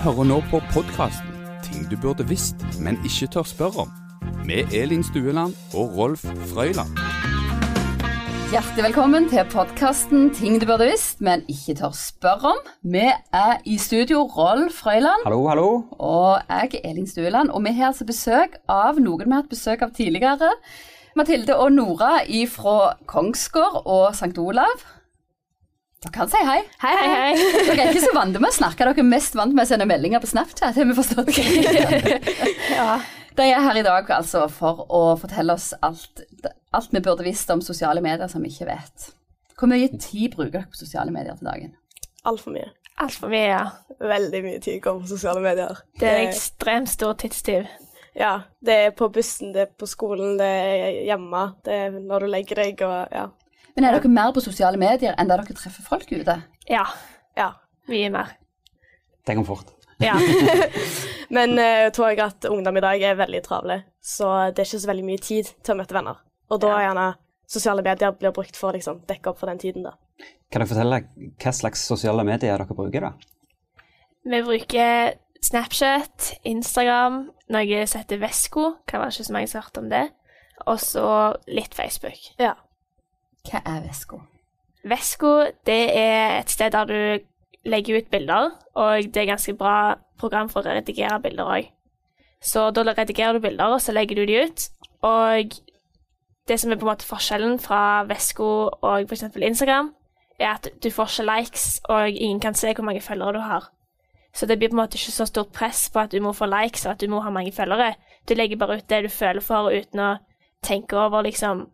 hører nå på podkasten 'Ting du burde visst, men ikke tør spørre om' med Elin Stueland og Rolf Frøyland. Hjertelig velkommen til podkasten 'Ting du burde visst, men ikke tør spørre om'. Vi er i studio Rolf Frøyland Hallo, hallo. og jeg er Elin Stueland. Og vi har altså besøk av noen vi har hatt besøk av tidligere. Mathilde og Nora fra Kongsgård og St. Olav. Dere kan si hei. Hei, hei, hei. Dere er ikke så vant med å snakke, dere er mest vant med å sende meldinger på Snapchat. har vi forstått. Ja. De er her i dag altså for å fortelle oss alt, alt vi burde visst om sosiale medier som vi ikke vet. Hvor mye tid bruker dere på sosiale medier til dagen? Altfor mye. Altfor mye, ja. Veldig mye tid går på sosiale medier. Det er en ekstremt stor tidstyv. ja, det er på bussen, det er på skolen, det er hjemme, det er når du legger deg og ja. Men er dere mer på sosiale medier enn der dere treffer folk ute? Ja, ja. mye mer. Det kom fort. Ja. Men eh, jeg tror jeg at ungdom i dag er veldig travle, så det er ikke så veldig mye tid til å møte venner. Og da er gjerne sosiale medier blir brukt for å liksom, dekke opp for den tiden, da. Kan dere fortelle hva slags sosiale medier dere bruker? da? Vi bruker Snapchat, Instagram, noe som heter Vesko. Kan være ikke så mange som har hørt om det. Og så litt Facebook. Ja. Hva er Vesko? Vesko det er et sted der du legger ut bilder, og det er ganske bra program for å redigere bilder òg. Så da redigerer du bilder, og så legger du de ut. Og det som er på en måte forskjellen fra Vesko og f.eks. Instagram, er at du får ikke likes, og ingen kan se hvor mange følgere du har. Så det blir på en måte ikke så stort press på at du må få likes og at du må ha mange følgere. Du legger bare ut det du føler for, uten å tenke over liksom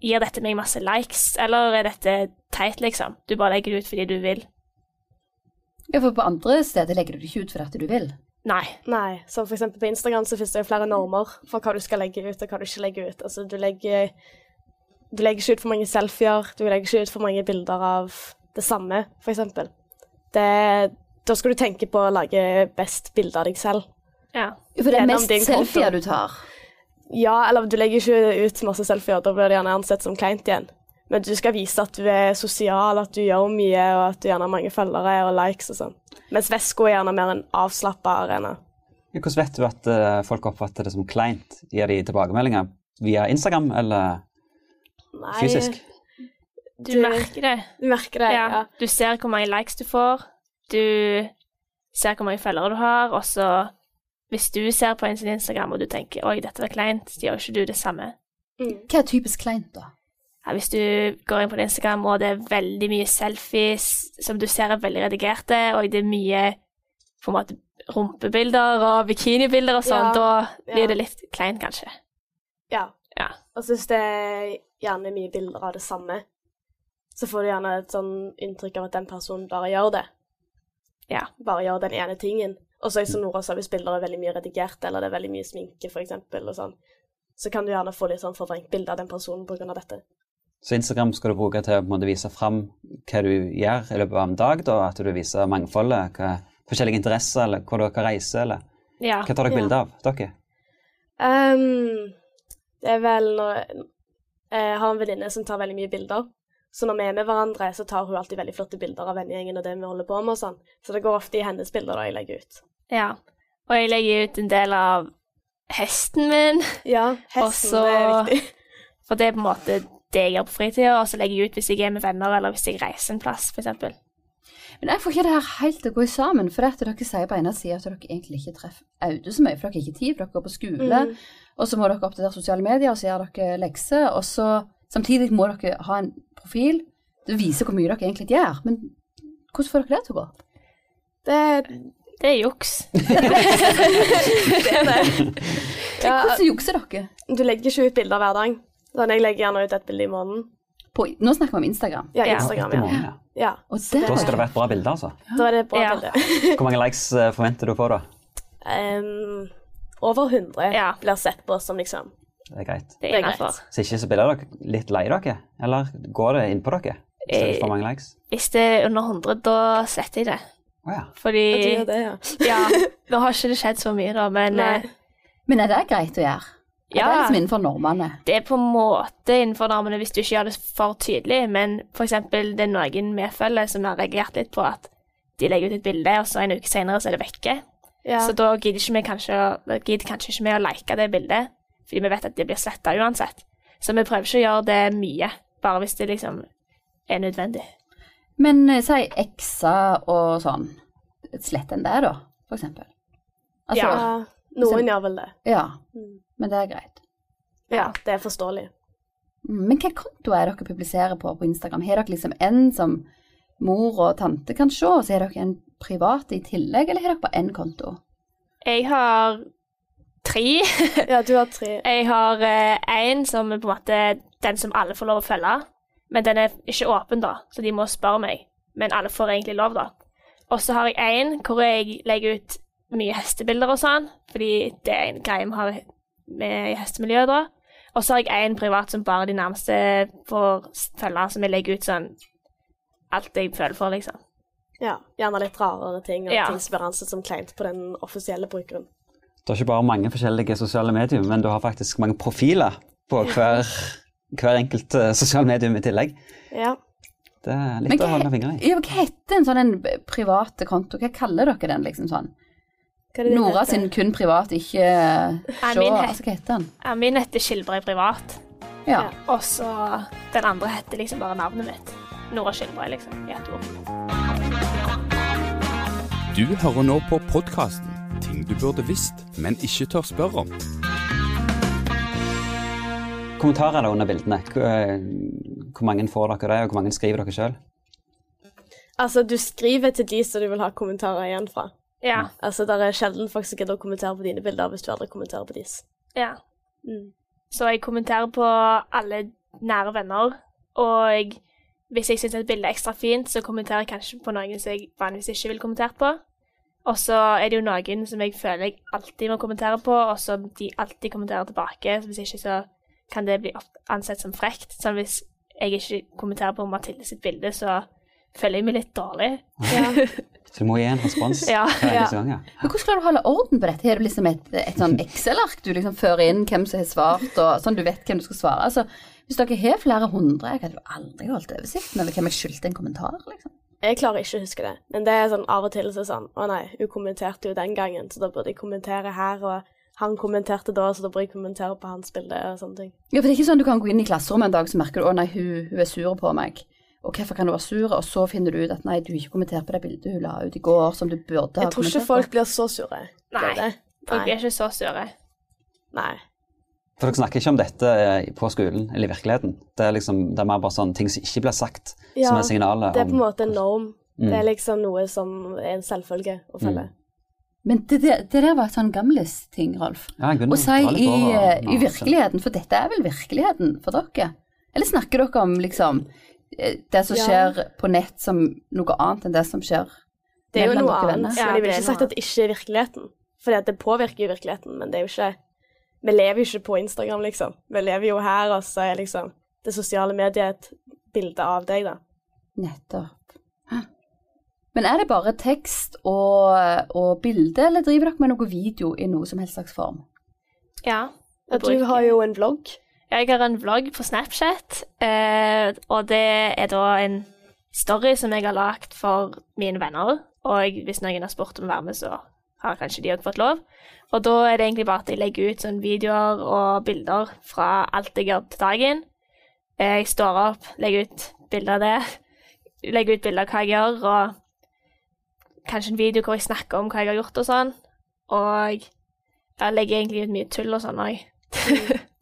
Gir dette meg masse likes, eller er dette teit, liksom? Du bare legger det ut fordi du vil. Ja, for på andre steder legger du det ikke ut fordi at du vil. Nei. Nei, så for eksempel på Instagram så finnes det jo flere normer for hva du skal legge ut og hva du ikke legger ut. Altså, du legger, du legger ikke ut for mange selfier, du legger ikke ut for mange bilder av det samme, for eksempel. Det, da skal du tenke på å lage best bilder av deg selv. Ja. Jo, for det er Gjennom mest din konto. selfier du tar. Ja, eller du legger ikke ut masse selfier, da blir det gjerne ansett som kleint igjen. Men du skal vise at du er sosial, at du gjør mye, og at du gjerne har mange følgere og likes og sånn. Mens Vesko er gjerne mer en avslappa arena. Hvordan vet du at eh, folk oppfatter det som kleint? Gir de tilbakemeldinger via Instagram eller Nei, eh. fysisk? Du, Du- merker det. Du merker det, ja. Du ser hvor mange likes du får. Du ser hvor mange følgere du har, og så hvis du ser på en sin Instagram og du tenker 'oi, dette var kleint', så gjør ikke du det samme. Mm. Hva er typisk kleint, da? Ja, hvis du går inn på din Instagram og det er veldig mye selfies som du ser er veldig redigerte, og det er mye på en måte rumpebilder og bikinibilder og sånn, Ja, da ja. blir det litt kleint, kanskje. Ja. Ja. Og så hvis det er gjerne mye bilder av det samme, så får du gjerne et sånn inntrykk av at den personen bare gjør det. Ja. Mm. Bare gjør den ene tingen. Og så som Nora sa, hvis bilder er veldig mye redigert, eller det er veldig mye sminke, for eksempel, og sånn, så kan du gjerne få litt sånn forvrengt bilde av den personen på grunn av dette. Så Instagram skal du bruke til å på en måte vise fram hva du gjør i løpet av en dag? da, At du viser mangfoldet, hva, forskjellige interesser, eller hvor dere reiser? eller Ja. Hva tar dere Ja. bilde av? dere? Ehm, det er vel når Jeg har en venninne som tar veldig mye bilder. Så når vi er med hverandre, så tar hun alltid veldig flotte bilder av vennegjengen og det vi holder på med og sånn. Så det går ofte i hennes bilder da jeg legger ut. ja. Og jeg legger ut en del av hesten min. Ja, Og hesten så- det er viktig. For det er på en måte det jeg gjør på fritida, og så legger jeg ut hvis jeg er med venner, eller hvis jeg reiser en plass, f.eks. Men jeg får ikke det her helt til å gå sammen, for at dere sier på ene siden at dere egentlig ikke treffer Aude så mye, for dere har ikke tid, for dere går på skole, Mm. og så må dere oppdatere sosiale medier, og så gjør dere lekser, og så samtidig må dere ha en profil som viser hvor mye dere egentlig gjør. Men hvordan får dere det til å gå opp? Det, Det er juks. ja, Hvordan jukser dere? du legger ikke ut bilder hver dag. Sånn, jeg legger gjerne ut et bilde i måneden. På, nå snakker vi om Instagram. Ja. Ja, Ja, Instagram, etter ja. morgenen, ja. ja. Og der, Da skal det være et bra bilde, altså. Da er det et bra Ja. bilde. Hvor mange likes eh, forventer du å få, da? Ehm, over 100 Ja. blir sett på som liksom Det er greit. Det Det er er greit. innafor. Så ikke så blir dere litt lei dere? Eller går det inn på dere? Hvis dere Eh. får mange likes? Hvis det er under 100, da sletter jeg det. Å ja. Fordi at de gjør det, ja. Ja, nå har ikke det skjedd så mye, da, men Nei. eh, Men er det greit å gjøre? Er Det er Ja. liksom innenfor normene. det er på en måte innenfor normene hvis du ikke gjør det for tydelig. Men f.eks. det er noen vi følger som har reagert litt på at de legger ut et bilde, og så en uke senere så er det vekke. Ja. Så da gidder, ikke vi kanskje, å- da gidder kanskje ikke vi å like det bildet, fordi vi vet at det blir sletta uansett. Så vi prøver ikke å gjøre det mye, bare hvis det liksom er nødvendig. Men eh, si ekser og sånn. Slett enn det, da, for eksempel. Altså, ja. Ja, noen gjør vel det. Mm. Men det er greit. Ja, det er forståelig. Mm, Men hvilke kontoer er dere publiserer på på Instagram? Har dere liksom en som mor og tante kan se, og så har dere en privat i tillegg, eller har dere bare én konto? Jeg har tre. Ja, du har tre. Jeg har én som er på en måte den som alle får lov å følge. Men den er ikke åpen, da, så de må spørre meg. Men alle får egentlig lov, da. Og så har jeg én hvor jeg legger ut mye hestebilder og sånn, fordi det er en greie vi har med i hestemiljøet, da. Og så har jeg én privat som bare de nærmeste får følge, som jeg legger ut sånn alt jeg føler for, liksom. Ja, Gjerne litt rarere ting, og Ja. ting som blir ansett som kleint på den offisielle brukeren. Du har ikke bare mange forskjellige sosiale medier, men du har faktisk mange profiler på hver, hver enkelt eh, sosial medium i tillegg. Ja. Det er litt Men å hva- holde fingrene i. Ja, men hva heter en sånn en b- private konto? Hva kaller dere den, liksom sånn? Hva er det de Nora heter? sin kun privat, ikke eh, se. min het- Altså, hva heter den? Ja, Min heter Skilbrei privat, Ja. Ja. og så den andre heter liksom bare navnet mitt. Nora Skilbrei, liksom, i ett ord. Du hører nå på podkasten Ting du burde visst, men ikke tør spørre om. Kommentarer da under bildene. Hvor, eh, hvor mange får dere det, og hvor mange skriver dere sjøl? Altså, du skriver til de som du vil ha kommentarer igjen fra. Ja. Altså, Det er sjelden folk som gidder å kommentere på dine bilder hvis du aldri kommenterer på deres. Ja. Mm. Så jeg kommenterer på alle nære venner, og hvis jeg syns et bilde er ekstra fint, så kommenterer jeg kanskje på noen som jeg vanligvis ikke ville kommentert på. Og så er det jo noen som jeg føler jeg alltid må kommentere på, og som de alltid kommenterer tilbake. Så hvis ikke så kan det bli opp- ansett som frekt. Sånn hvis jeg ikke kommenterer på Mathilde sitt bilde, så føler jeg meg litt dårlig. Så du må gi en respons Ja. hver eneste gang. ja. Men hvordan klarer du å holde orden på dette? Har du liksom et, et sånn Excel-ark du liksom fører inn hvem som har svart, og sånn du vet hvem du skal svare? Altså, hvis dere har flere hundre, jeg hadde jo aldri holdt oversikten over hvem jeg skyldte en kommentar, liksom. Jeg klarer ikke å huske det, men det er sånn av og til så er det sånn Å nei, hun kommenterte jo den gangen, så da burde jeg kommentere her, og han kommenterte da, så da burde jeg kommentere på hans bilde og sånne ting. Ja, for det er ikke sånn du kan gå inn i klasserommet en dag, så merker du, å nei, hun, hun er sur på meg. Og hvorfor kan hun være sur? Og så finner du ut at nei, du har ikke kommentert på det bildet hun la ut i går, som du burde ha Jeg tror ikke kommentert på. folk blir så sure. Nei. Blir det? Folk Nei. er ikke så sure. nei. For dere snakker ikke om dette eh, på skolen eller i virkeligheten. Det er liksom, det er mer bare sånn ting som ikke blir sagt, Ja, som er signalet Det er på en om måte en norm. Mm. Det er liksom noe som er en selvfølge å følge. Men det, det, det der var et sånn gamlis-ting, Rolf. Ja, jeg Og begynner å si dra litt i, eh, over nå, i så- virkeligheten, for dette er vel virkeligheten for dere? Eller snakker dere om liksom eh, det som Ja. skjer på nett som noe annet enn det som skjer Det er jo mellom noe dere annet. venner? Ja, men jeg det ville er ikke noe sagt at det ikke er virkeligheten. Fordi at det påvirker jo virkeligheten, men det er jo ikke Vi lever jo ikke på Instagram, liksom. Vi lever jo her, og så er liksom det sosiale mediet et bilde av deg, da. Nettopp. Hæ? Men er det bare tekst og, og bilde, eller driver dere med noe video i noe som helst slags form? Ja. Og du har jo en vlogg. Jeg har en vlogg på Snapchat, eh, og det er da en story som jeg har lagd for mine venner. Og hvis noen har spurt om å være med, så har kanskje de òg fått lov. Og da er det egentlig bare at jeg legger ut sånn videoer og bilder fra alt jeg gjør til dagen. Eh, Jeg står opp, legger ut bilder av det. Legger ut bilder av hva jeg gjør, og kanskje en video hvor jeg snakker om hva jeg har gjort og sånn. Og jeg legger egentlig ut mye tull og sånn òg.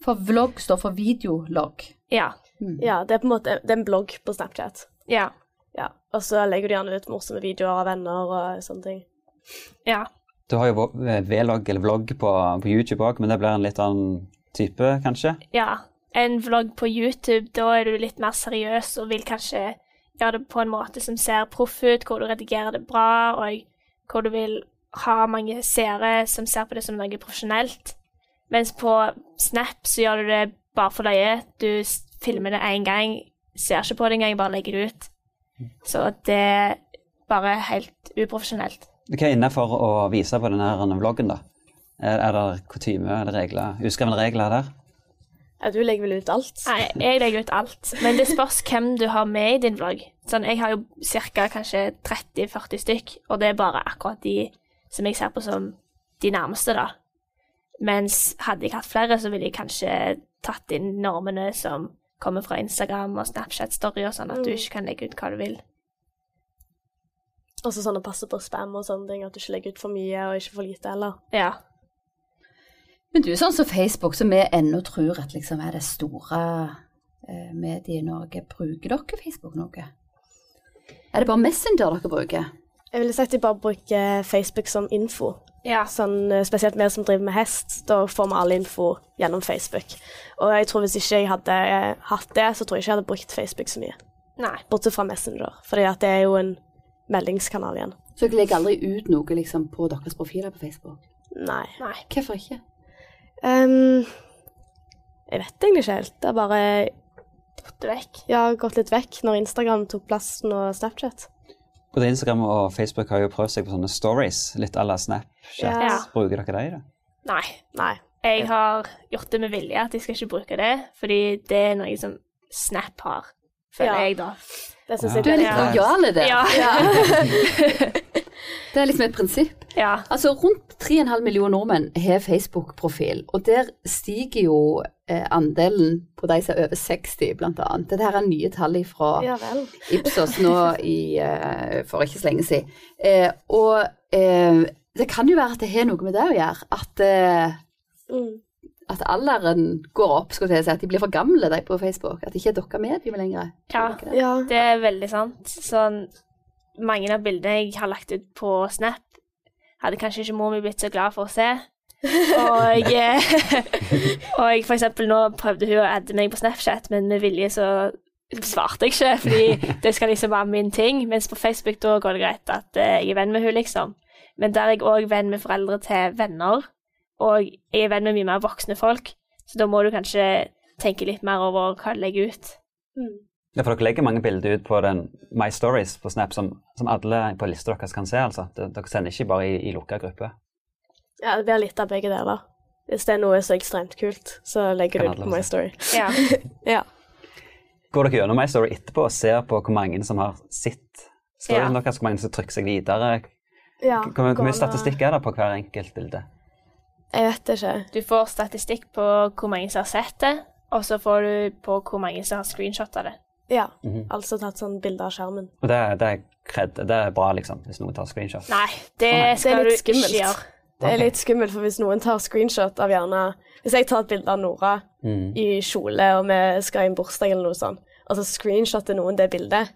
For vlogg står for videolog. Ja. Mm. Ja, det er på en måte det er en blogg på Snapchat. Ja. Ja. Og så legger du gjerne ut morsomme videoer av venner og sånne ting. Ja. Du har jo vå- eh, vlogg eller vlogg på, på YouTube òg, men det blir en litt annen type, kanskje? ja. En vlogg på YouTube, da er du litt mer seriøs og vil kanskje gjøre det på en måte som ser proff ut, hvor du redigerer det bra, og hvor du vil ha mange seere som ser på det som noe profesjonelt. Mens på Snap så gjør du det bare for løye. Du s- filmer det én gang, ser ikke på det engang, bare legger det ut. Så det er bare helt uprofesjonelt. Hva er inne for å vise på denne her vloggen, da? Er, er det kutyme eller regler, uskrevne regler der? Ja, du legger vel ut alt? Nei, jeg legger ut alt. Men det spørs hvem du har med i din vlogg. Sånn, jeg har jo ca. kanskje 30-40 stykk, og det er bare akkurat de som jeg ser på som de nærmeste, da. Mens hadde jeg hatt flere, så ville jeg kanskje tatt inn normene som kommer fra Instagram og Snapchat-story og sånn, at du Mm. ikke kan legge ut hva du vil. Og så sånn å passe på spam og sånne ting, at du ikke legger ut for mye og ikke for lite heller. Ja. Men du er sånn som Facebook, som vi ennå tror at liksom er det store eh, mediet i Norge. Bruker dere Facebook noe? Er det bare Messenger dere bruker? Jeg ville sagt de bare bruker Facebook som info. Ja. Sånn, eh, spesielt vi som driver med hest, da får vi all info gjennom Facebook. Og jeg tror hvis ikke jeg hadde eh, hatt det, så tror jeg ikke jeg hadde brukt Facebook så mye. Nei. Bortsett fra Messenger, fordi at det er jo en meldingskanal igjen. Så dere legger aldri ut noe liksom, på deres profiler på Facebook? Nei. Nei. Hvorfor ikke? Ehm, jeg vet egentlig ikke helt. Det har bare Fått det vekk. ja, gått litt vekk når Instagram tok plassen og Snapchat. Både Instagram og Facebook har jo prøvd seg på sånne stories, litt à la Snapchat. Ja. Bruker dere det i det? Nei. Nei. Jeg har gjort det med vilje at jeg skal ikke bruke det, fordi det er noe som Snap har, føler Ja. jeg da. Det syns Ja. jeg Du er litt Ja. lojal i det. Ja. Det er liksom et prinsipp. Ja. Altså, Rundt 3,5 millioner nordmenn har Facebook-profil, og der stiger jo eh, andelen på de som er over 60, blant annet. Dette her er nye tall fra Ja vel. Ipsos nå i, eh, for ikke så lenge siden. Eh, og eh, det kan jo være at det har noe med det å gjøre, at, eh, Mm. at alderen går opp, skulle jeg til å si, at de blir for gamle, de på Facebook. At de ikke er dere medium lenger. ja. Tror dere det? Ja. Det er veldig sant. Sånn, mange av bildene jeg har lagt ut på Snap, hadde kanskje ikke mor mi blitt så glad for å se. Og, eh, og jeg, for eksempel nå prøvde hun å adde meg på Snapchat, men med vilje så svarte jeg ikke, fordi det skal liksom være min ting. Mens på Facebook da går det greit at eh, jeg er venn med hun liksom. Men der er jeg òg venn med foreldre til venner, og jeg er venn med mye mer voksne folk. Så da må du kanskje tenke litt mer over hva du legger ut. Mm. Ja, for dere legger mange bilder ut på den My Stories på Snap som, som alle på lista deres kan se. altså. De- Dere sender ikke bare i, i lukka gruppe. Ja, det blir litt av begge deler. Hvis det er noe så ekstremt kult, så legger du Kan det alle på My se. Story. Ja. Ja. Går dere gjennom My Story etterpå og ser på hvor mange som har sitt storyen Ja. deres, hvor mange som trykker seg videre? ja Hvor, hvor mye statistikk er det på hver enkelt bilde? Jeg vet ikke. Du får statistikk på hvor mange som har sett det, og så får du på hvor mange som har screenshotta det. Ja. Mhm. Altså tatt sånn bilde av skjermen. Og det, er- det, er cred, det er bra, liksom, hvis noen tar screenshot. Nei, det nei. Det skal er du litt ikke skummelt. gjøre. Det er Ok. litt skummelt, for hvis noen tar screenshot av gjerne Hvis jeg tar et bilde av Nora Mm. i kjole, og vi skal i en bursdag eller noe sånt, og så screenshotter noen det bildet,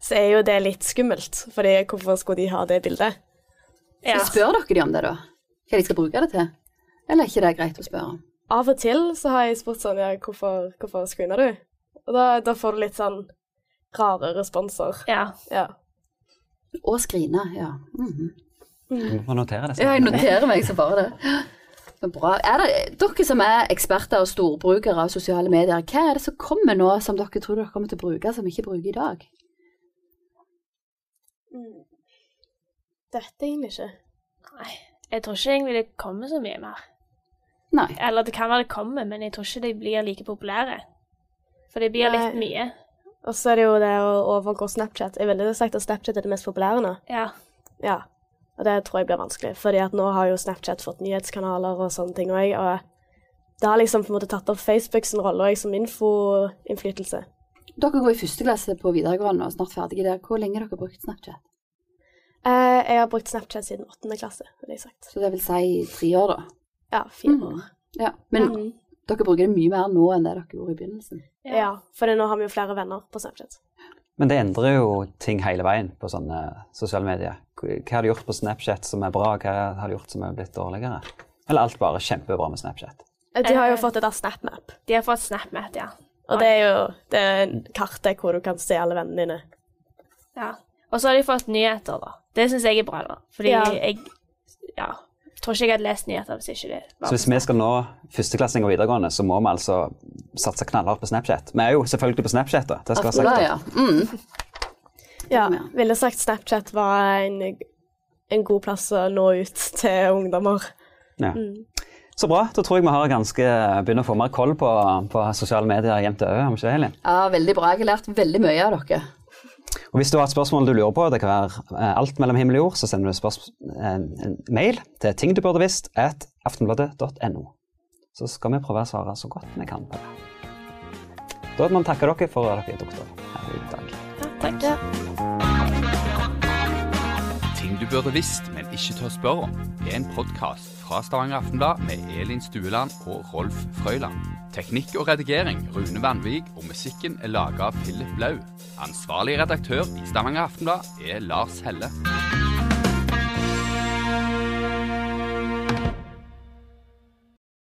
så er jo det litt skummelt. Fordi hvorfor skulle de ha det bildet? Ja. Så spør dere de om det, da? Hva de skal bruke det til? Eller er ikke det greit å spørre? Av og til så har jeg spurt sånn Ja, hvorfor, hvorfor screener du? Og da, da får du litt sånn rare responser. Ja. Ja. Og skrine, ja. Mhm. Du må notere det. Ja, Sara. jeg noterer meg så bare det. Men Bra. Er det, dere som er eksperter og storbrukere av sosiale medier, hva er det som kommer nå som dere tror dere kommer til å bruke, som vi ikke bruker i dag? Mm. Det vet jeg egentlig ikke. Nei. Jeg tror ikke egentlig det kommer så mye mer. Nei. Eller det kan være det kommer, men jeg tror ikke de blir like populære. For det blir litt Nei. mye. Og så er det jo det å overgå Snapchat. Jeg ville sagt at Snapchat er det mest populære nå. Ja. Ja. Og det tror jeg blir vanskelig, fordi at nå har jo Snapchat fått nyhetskanaler og sånne ting òg, og det har liksom på en måte tatt opp Facebooks rolle òg som infoinnflytelse. Dere går i første klasse på videregående og er snart ferdige der. Hvor lenge har dere brukt Snapchat? Eh, jeg har brukt Snapchat siden åttende klasse, ville jeg sagt. Så det vil si tre år, da. Ja, fire år. Mhm. Ja. Men Mhm. dere bruker det mye mer nå enn det dere gjorde i begynnelsen. Ja, for nå har vi jo flere venner på Snapchat. Men det endrer jo ting hele veien på sånne sosiale medier. Hva hva har du gjort på Snapchat som er bra, og hva har du gjort som er blitt dårligere? Eller alt bare kjempebra med Snapchat? Eh, De har jo Eh. fått det der SnapMap, De har fått SnapMat, ja. og det er jo det er kartet hvor du kan se alle vennene dine. ja. Og så har de fått nyheter, da. Det syns jeg er bra, da. Fordi Ja. jeg ja, tror ikke jeg hadde lest nyheter hvis ikke det var Så hvis vi skal nå førsteklassinger og videregående, så må vi altså satse knallhardt på Snapchat. Vi er jo selvfølgelig på Snapchat, da. Det skal være Aftenbladet, sagt. da. ja. Mm. Ja, Ja. ville sagt Snapchat var en, en god plass å nå ut til ungdommer. Ja. Mm. Så bra. Da tror jeg vi har ganske, begynner å få mer koll på, på sosiale medier jevnt over. har vi ikke det, Elin? Ja, Veldig bra. Jeg har lært veldig mye av dere. Og hvis du har et spørsmål du lurer på, det kan være eh, alt mellom himmel og jord, så sender du spørs- en, en mail til ting du burde visst at aftenbladet.no. Så skal vi prøve å svare så godt vi kan på det. Da må vi takke dere for at dere er doktorer her i dag. Takk. Ting du burde visst, men ikke tør spørre om, er en podkast fra Stavanger Aftenblad med Elin Stueland og Rolf Frøyland. Teknikk og redigering Rune Vanvik, og musikken er laga av Philip Blau. Ansvarlig redaktør i Stavanger Aftenblad er Lars Helle.